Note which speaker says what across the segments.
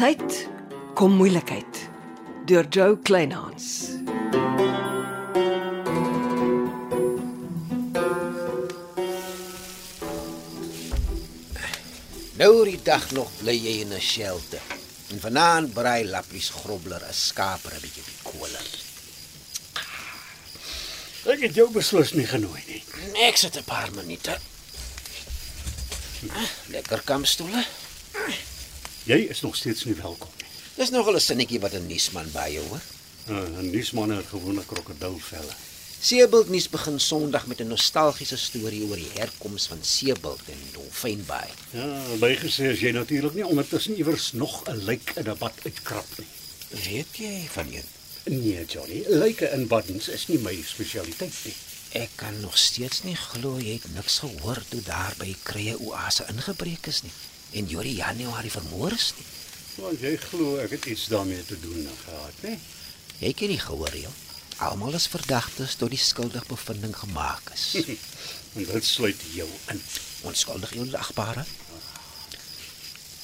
Speaker 1: tyd kom moeilikheid deur Joe Kleinhans.
Speaker 2: Nou die dag nog bly jy in 'n shelter. En vanaand braai lappies grobler 'n skaapribbietjie op die koler.
Speaker 3: Ek het jou beslis nie genooi nie.
Speaker 2: Ek sit 'n paar minute. Ah, Lekker kampstoele.
Speaker 3: Jy is nog steeds nie welkom nie.
Speaker 2: Dis nogal 'n sinnetjie wat 'n nuusman by jou hoor.
Speaker 3: Uh, 'n Nuusman het gewone krokodilvelle.
Speaker 2: Seebilt nuus begin Sondag met 'n nostalgiese storie oor die herkoms van Seebilt in Dolfynbaai.
Speaker 3: Ja, bygesê as jy natuurlik nie ondertussen iewers nog 'n lijk in 'n bad uitkrap nie.
Speaker 2: Weet jy van een?
Speaker 3: Nee, Johnny, lyke in baddens is nie my spesialiteit nie.
Speaker 2: Ek kan nog steeds nie glo jy het niks gehoor toe daar by Krye Oase ingebreek is nie en Jori Januarie vermoor is nie.
Speaker 3: Want jy glo ek het iets daarmee te doen nou gehad, né?
Speaker 2: Jy ken die gehoorreël. Almal is verdagtes tot die skuldig bevinding gemaak is.
Speaker 3: En dit sluit jou in.
Speaker 2: Onskuldig en lagbare.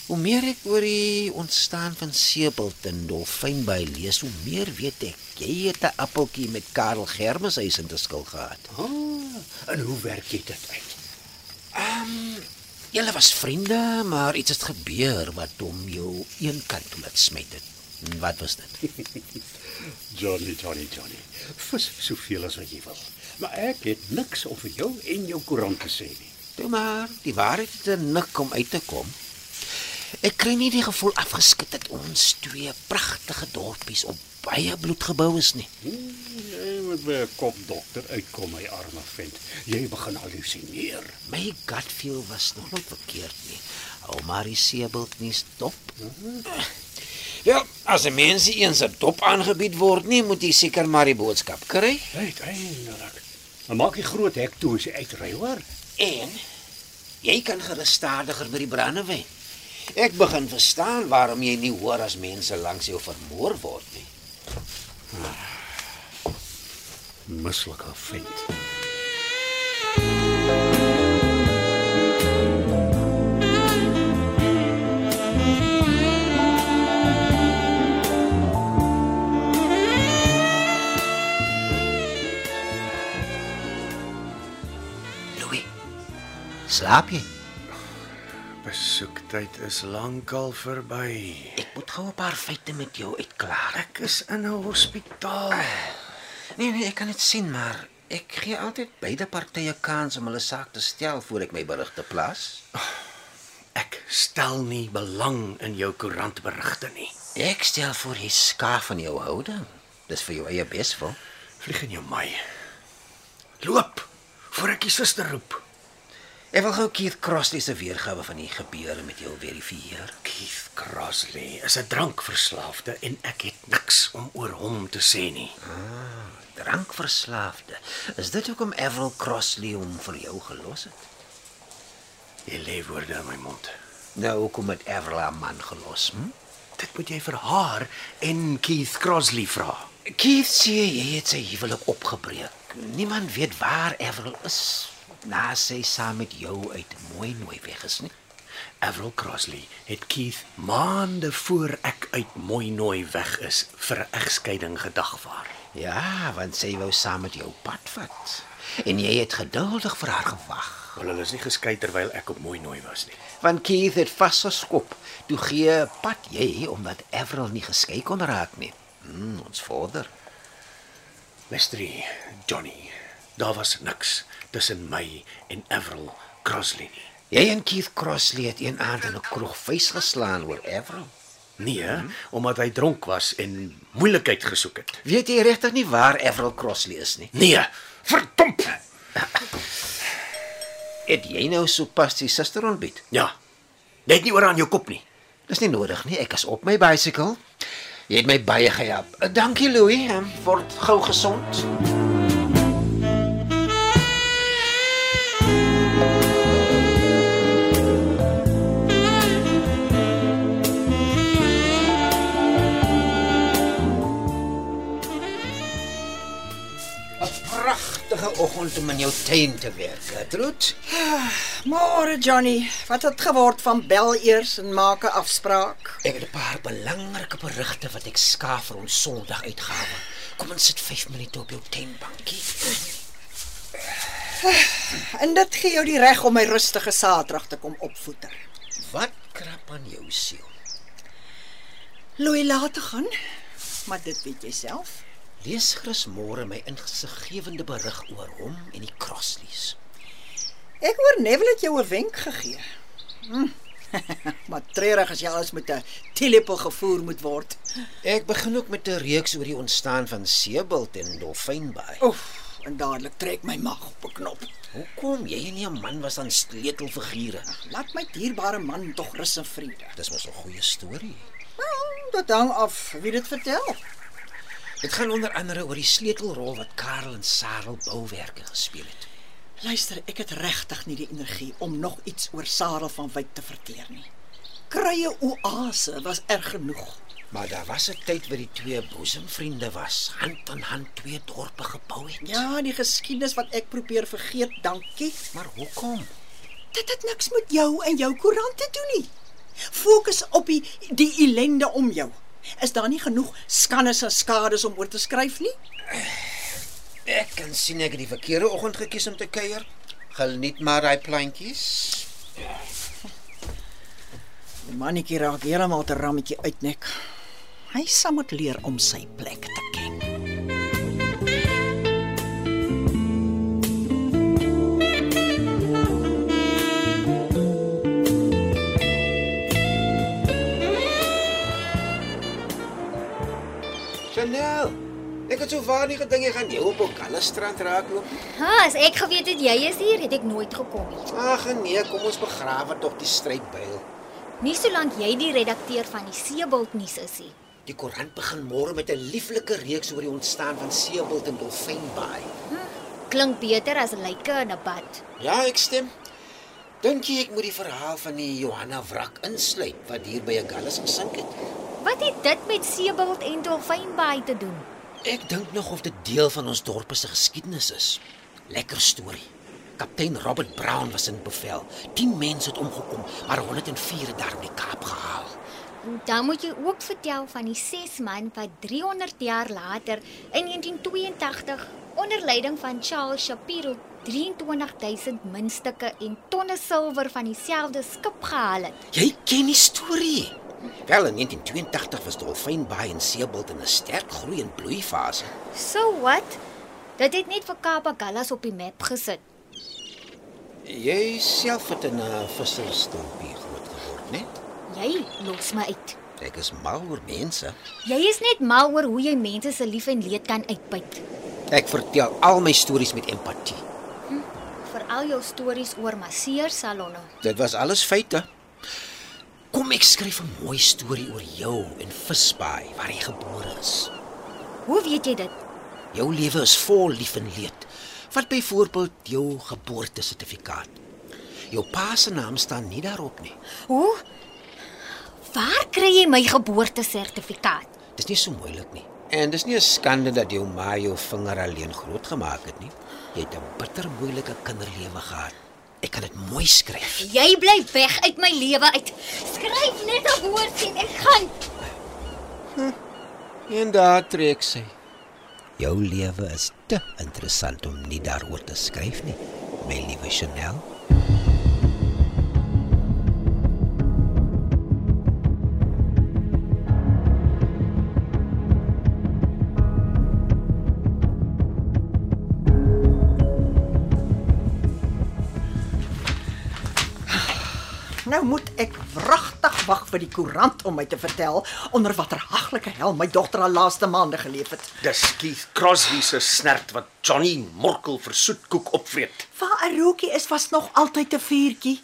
Speaker 2: Hoe meer ek oor die ontstaan van Seebult en Dolfynbaai lees, hoe meer weet ek jy het 'n appeltjie met Karel Germeshuis in te skil gehad.
Speaker 3: Ah, en hoe werk jy dit uit?
Speaker 2: Julle was vriende, maar iets het gebeur wat hom jou eenkant toe laat smet het. En Wat was dit?
Speaker 3: Johnny, Johnny, Johnny. Vis soveel as wat jy wil. Maar ek het niks oor jou en jou koerant te sê nie.
Speaker 2: Toe maar, die waarheid het er nik om uit te kom. Ek kry nie die gevoel afgeskit dat ons twee pragtige dorpies op baie bloed gebou is nie.
Speaker 3: Hmm, Jy moet by 'n kopdokter uitkom, my arme vent. Jy begin halusineer.
Speaker 2: My gut feel was nog nooit verkeerd nie. Hou maar die seebult nie stop. Ja, as 'n mens nie eens 'n dop aangebied word nie, moet jy seker maar die boodskap kry.
Speaker 3: Net eindelik. Dan maak jy groot hek toe as jy uitry, hoor?
Speaker 2: En jy kan gerus stadiger by die brandewyn. Ek begin verstaan waarom jy nie hoor as mense langs jou vermoor word nie.
Speaker 3: Mislike vent.
Speaker 2: Louis, slaap jy?
Speaker 4: Besoektyd is lankal verby.
Speaker 2: Ek moet gou 'n paar feite met jou uitklaar.
Speaker 4: Ek is in 'n hospitaal.
Speaker 2: Nee nee, ek kan dit sien, maar ek gee altyd beide partye kans om hulle saak te stel voor ek my berigte plaas.
Speaker 4: Ek stel nie belang in jou koerantberigte nie.
Speaker 2: Ek stel voor jy skaaf van jou houding. Dis vir jou eie beswil.
Speaker 4: Vlieg in jou my. Loop voor ek die suster roep.
Speaker 2: Ek wil gou Keith Crossley se weergawe van die gebeure met jou verifieer.
Speaker 4: Keith Crossley is 'n drankverslaafde en ek het niks om oor hom te sê nie.
Speaker 2: Ah, Drankverslaafde. Is dit hoekom Avril Crossley hom vir jou gelos het?
Speaker 4: Jy lê woorde in my mond.
Speaker 2: Nou hoekom het Avril haar man gelos? Hm?
Speaker 4: Dit moet jy vir haar en Keith Crossley vra.
Speaker 2: Keith sê jy het sy huwelik opgebreek. Niemand weet waar Avril is na sy saam met jou uit mooi nooi weg is nie.
Speaker 4: Avril Crossley het Keith maande voor ek uit mooi nooi weg is vir 'n egskeiding gedagvaar.
Speaker 2: Ja, want sy wou saam met jou pad vat. En jy het geduldig vir haar gewag.
Speaker 4: Wel, hulle is nie geskei terwyl ek op mooi nooi was nie.
Speaker 2: Want Keith het vasgeskop. Toe gee pad jy omdat Avril nie geskei kon raak nie. Hmm, ons vorder.
Speaker 4: Mystery Johnny, daar was niks tussen my en Avril Crossley nie.
Speaker 2: Jy en Keith Crossley het een aand in 'n kroeg vuis geslaan oor Avril.
Speaker 4: Nee, hmm. omdat hy dronk was en moeilikheid gesoek het.
Speaker 2: Weet jy regtig nie waar Avril Crossley is nie?
Speaker 4: Nee, verdomp.
Speaker 2: Het jy nou sopas die suster ontbied?
Speaker 4: Ja. Net nie oor aan jou kop nie.
Speaker 2: Dis nie nodig nie. Ek is op my bicycle. Jy het my baie gehelp. Eh, Dankie Louis. Eh, Word gou gesond. Pragtige oggend vanoggend om in jou tuin te werk, Gertrude.
Speaker 5: Môre Johnny, wat het geword van bel eers en maak 'n afspraak?
Speaker 2: Ek het 'n paar belangrike berigte wat ek skaaf vir ons Sondag uitgawe. Kom ons sit 5 minute op jou tuinbankie.
Speaker 5: En dit gee jou die reg om my rustige Saterdag te kom opvoeter.
Speaker 2: Wat krap aan jou siel?
Speaker 5: Loei laat te gaan, maar dit weet jy self.
Speaker 2: Lees Chris môre my insiggewende berig oor hom en die Crossleys.
Speaker 5: Ek hoor Neville het jou 'n wenk gegee. Hm. maar treurig as jy alles met 'n telepel gevoer moet word.
Speaker 2: Ek begin ook met 'n reeks oor die ontstaan van seebult en dolfynbaai.
Speaker 5: Oef, en dadelik trek my mag op 'n knop.
Speaker 2: Hoekom jy en jou man was aan sleutelfigure?
Speaker 5: Laat my dierbare man tog rus en vrede.
Speaker 2: Dis mos 'n goeie storie.
Speaker 5: Wel, dit hang af wie dit vertel.
Speaker 2: Dit gaan onder andere oor die sleutelrol wat Karel en Sarel Bouwerke gespeel het.
Speaker 5: Luister, ek het regtig nie die energie om nog iets oor Sarah van Wyk te verteer nie. Krye oase was erg genoeg.
Speaker 2: Maar daar was 'n tyd wat die twee boesemvriende was, hand aan hand twee dorpe gebou het.
Speaker 5: Ja, die geskiedenis wat ek probeer vergeet, dankie.
Speaker 2: Maar hoekom?
Speaker 5: Dit het niks met jou en jou koerant te doen nie. Fokus op die die ellende om jou. Is daar nie genoeg skandes en skades om oor te skryf nie?
Speaker 2: Ek kan sien ek het die verkeerde oggend gekies om te kuier. Geniet maar daai plantjies.
Speaker 5: Die mannetjie raak heeltemal te rammetjie uitnek. Hy sal moet leer om sy plek te ken.
Speaker 2: Chanel, ek het sowaar nie gedink jy gaan jou op Okalastrand raakloop.
Speaker 6: Ha, as ek geweet het jy is hier, het ek nooit gekom nie.
Speaker 2: Ag nee, kom ons begrawe tog die strydbuil.
Speaker 6: Nie solank jy die redakteur van die Seebult nuus is nie.
Speaker 2: Die koerant begin môre met 'n lieflike reeks oor die ontstaan van seebult en dolfynbaai.
Speaker 6: Klink beter as lyke in 'n bad.
Speaker 2: Ja, ek stem. Dink jy ek moet die verhaal van die Johanna wrak insluit wat hier by Agulhas gesink het?
Speaker 6: Wat het dit met Seebult en Dolfynbaai te doen?
Speaker 2: Ek dink nog of dit deel van ons dorp se geskiedenis is. Lekker storie. Kaptein Robert Brown was in bevel. 10 mense het omgekom, maar 104 het daar in die Kaap gehaal.
Speaker 6: En Dan moet jy ook vertel van die ses man wat 300 jaar later in 1982 onder leiding van Charles Shapiro 23000 muntstukke en tonne silwer van dieselfde skip gehaal het.
Speaker 2: Jy ken die storie. Wel in 1982 was Dolfynbaai en Seebult in 'n sterk groei en bloeifase.
Speaker 6: So wat? Dit het net vir Kaapagullas op die map gesit.
Speaker 2: Jy self het in 'n vissersdorpie groot geword, né?
Speaker 6: Jy los my uit.
Speaker 2: Ek is mal oor mense.
Speaker 6: Jy is net mal oor hoe jy mense se lief en leed kan uitbuit.
Speaker 2: Ek vertel al my stories met empatie.
Speaker 6: Veral jou stories oor masseursalonne.
Speaker 2: Dit was alles feite. Kom ek skryf 'n mooi storie oor jou en Visbaai waar jy gebore is.
Speaker 6: Hoe weet jy dit?
Speaker 2: Jou lewe is vol lief en leed. Vat byvoorbeeld jou geboortesertifikaat. Jou pa se naam staan nie daarop nie.
Speaker 6: Hoe? Waar kry jy my geboortesertifikaat?
Speaker 2: Dis nie so moeilik nie. En dis nie 'n skande dat jou ma jou vinger alleen grootgemaak het nie. Jy het 'n bitter moeilike kinderlewe gehad. Ek kan dit mooi skryf.
Speaker 6: Jy bly weg uit my lewe uit. Skryf net 'n woord en ek gaan.
Speaker 2: En daar trek sy. Jou lewe is te interessant om nie daaroor te skryf nie, my liewe Chanel.
Speaker 5: Nou moet ek wragtig wag vir die koerant om my te vertel onder watter haglike hel my dogter haar laaste maande geleef het.
Speaker 4: Dis Keith Crosby se snert wat Johnny Morkel vir soetkoek opvreet.
Speaker 5: Waar 'n roetjie is was nog altyd 'n vuurtjie.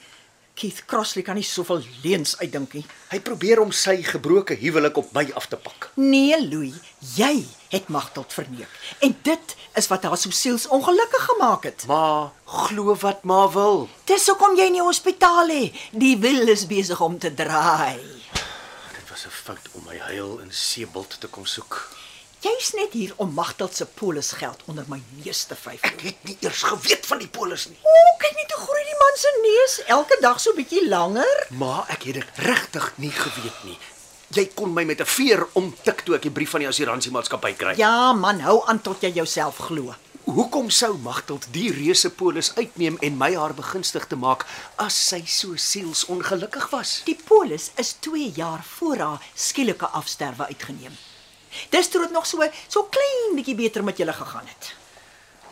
Speaker 5: Keith Crossley kan nie soveel leuns uitdink nie.
Speaker 4: Hy probeer om sy gebroke huwelik op my af te pak.
Speaker 5: Nee, Louis, jy het Magdalt verneek en dit is wat haar so sielsongelukkig gemaak het.
Speaker 4: Ma, glo wat ma wil.
Speaker 5: Dis hoekom jy in die hospitaal lê. Die wiel is besig om te draai.
Speaker 4: Dit was 'n fout om my huil in Seebult te kom soek.
Speaker 5: Jy's net hier om Magdalt se polisgeld onder my neus te vryf.
Speaker 2: Ek het nie eers geweet van die polis nie.
Speaker 5: O, kyk net hoe groei die man se neus elke dag so bietjie langer.
Speaker 4: Maar ek het dit regtig nie geweet nie. Jy kon my met 'n veer omtik toe ek die brief van die assuransmaatskappy kry.
Speaker 5: Ja man, hou aan tot jy jouself glo.
Speaker 4: Hoekom sou Magteld die reuse polis uitneem en my haar begunstig te maak as sy so sielsongelukkig was?
Speaker 5: Die polis is 2 jaar voor haar skielike afsterwe uitgeneem. Dis toe dit nog so so klein bietjie beter met julle gegaan het.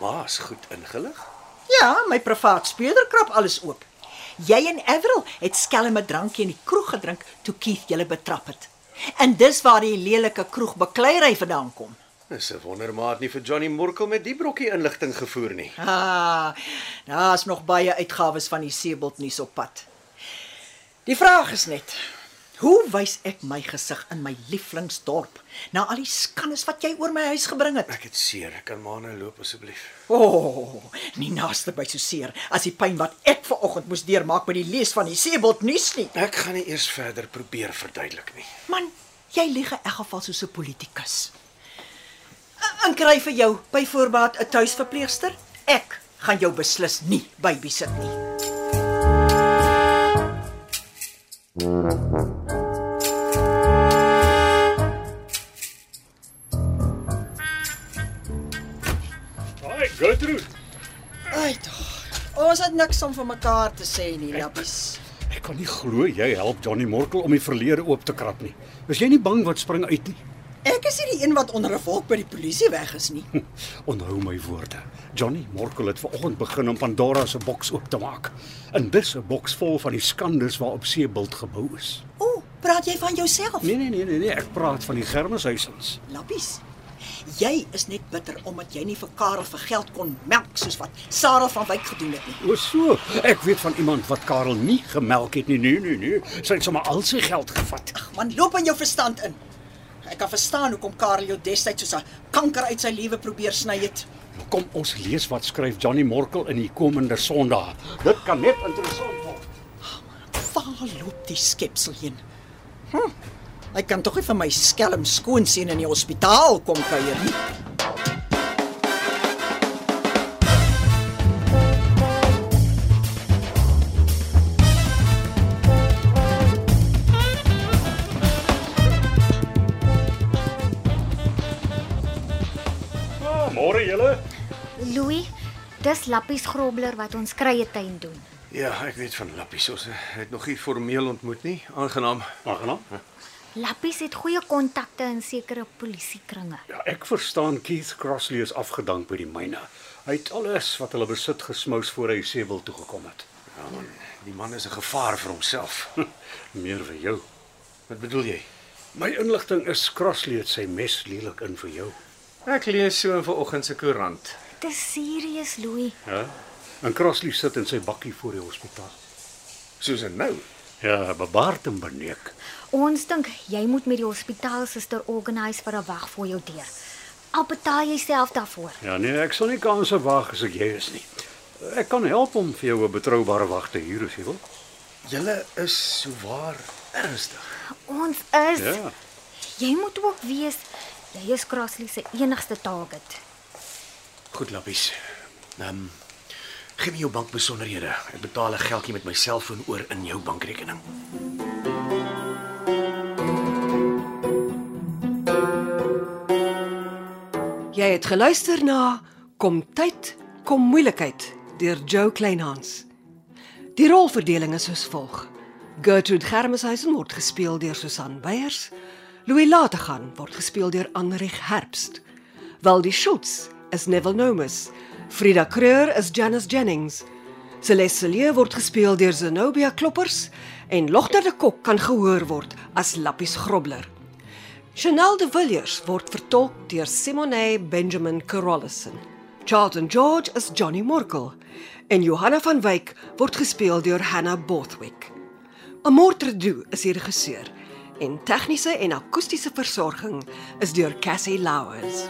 Speaker 4: Ma's goed ingelig.
Speaker 5: Ja, my privaat speurder krap alles oop. Jy en Avril het skelm 'n drankie in die kroeg gedrink toe Keith julle betrap het. En dis waar die lelike kroegbekleierery vandaan kom.
Speaker 4: Dis 'n wondermaat nie vir Johnny Morkel met die brokkie inligting gevoer nie.
Speaker 5: Ah, daar's nog baie uitgawes van die Seebult nuus op pad. Die vraag is net, hoe wys ek my gesig in my lieflingsdorp na al die skandes wat jy oor my huis gebring het?
Speaker 4: Ek het seer. Ek kan maar nou loop asseblief.
Speaker 5: O, oh, nie naaste by so seer as die pyn wat ek ver oggend moes deurmaak met die lees van die Seebult nuus nie.
Speaker 4: Ek gaan nie eers verder probeer verduidelik nie.
Speaker 5: Man, jy lieg in elk geval soos 'n politikus. En- En kry vir jou byvoorbeeld 'n tuisverpleegster? Ek gaan jou beslis nie babysit nie.
Speaker 3: Haai, Gertrude.
Speaker 5: Ai tog. Ons het niks om vir mekaar te sê nie, lappies.
Speaker 3: Ek kan nie glo jy help Johnny Morkel om die verlede oop te krap nie. Was jy nie bang wat spring uit nie?
Speaker 5: Ek is nie die een wat onder 'n volk by die polisie weg is nie.
Speaker 3: Onthou my woorde. Johnny Morkel het vanoggend begin om Pandora se boks oop te maak. En dis 'n boks vol van die skandes waarop Seebult gebou is.
Speaker 5: O, praat jy van jouself?
Speaker 3: Nee nee nee nee, nee ek praat van die Germishuisens.
Speaker 5: Lappies. Jy is net bitter omdat jy nie vir Karel vir geld kon melk soos wat Sarah van Wyk gedoen het nie.
Speaker 3: O so, ek weet van iemand wat Karel nie gemelk het nie. Nee nee nee, sy het sommer al sy geld gevat.
Speaker 5: Ag man, loop aan jou verstand in. Ek kan verstaan hoekom Karel jou destyds soos 'n kanker uit sy lewe probeer sny het.
Speaker 3: Kom ons lees wat skryf Johnny Morkel in die komende Sondag. Dit kan net interessant word.
Speaker 5: Waar loop die skepsel heen? Hm. Hy kan tog nie vir my skelm skoon sien in die hospitaal kom kuier nie.
Speaker 3: Ah, Môre julle.
Speaker 6: Louis, dis Lappies Grobler wat ons krye tuin doen.
Speaker 4: Ja, ek weet van Lappies. Ons het nog nie formeel ontmoet nie. Aangenaam.
Speaker 3: Aangenaam.
Speaker 6: Lappies het goeie kontakte in sekere polisiekringe.
Speaker 3: Ja, ek verstaan Keith Crossley is afgedank by die myne. Hy het alles wat hulle besit gesmous voor hy Sebel toe gekom het.
Speaker 4: Ja man, die man is 'n gevaar vir homself.
Speaker 3: Meer vir jou.
Speaker 4: Wat bedoel jy?
Speaker 3: My inligting is Crossley het sy mes lelik in vir jou.
Speaker 4: Ek lees so in vanoggend se koerant.
Speaker 6: Dis serieus, Louis.
Speaker 3: Ja. En Crossley sit in sy bakkie voor die hospitaal.
Speaker 4: Susan nou.
Speaker 3: Ja, bebaard en beneek.
Speaker 6: Ons dink jy moet met die hospitaalsuster organise vir 'n wag voor jou deur. Al betaal jy self daarvoor.
Speaker 3: Ja nee, ek sal nie kanse waag as ek jy is nie. Ek kan help om vir jou 'n betroubare wag te huur as jy wil.
Speaker 4: Julle is souwaar ernstig.
Speaker 6: Ons is
Speaker 3: Ja.
Speaker 6: Jy moet ook weet jy is Crossley se enigste target.
Speaker 4: Goed Lappies. Ehm um, gee my jou bankbesonderhede. Ek betaal 'n geldjie met my selfoon oor in jou bankrekening.
Speaker 1: Jy het geluister na Kom tyd, kom moeilikheid deur Jo Kleinhans. Die rolverdeling is soos volg: Gertrude Germeshuisen word gespeel deur Susan Beyers, Louis Lategan word gespeel deur Anrich Herbst, Waldie Schultz is Neville Nomus, Frida Kreur is Janice Jennings. Celeste Lee word gespeel deur Zenobia Kloppers en Logter de Kok kan gehoor word as Lappies Grobler. Chanel de Villiers word vertolk deur Simone Benjamin Carolison. Charlton George is Johnny Morkel en Johanna van Wyk word gespeel deur Hannah Bothwick. Amortredu is die regisseur en tegniese en akoestiese versorging is deur Cassie Louws.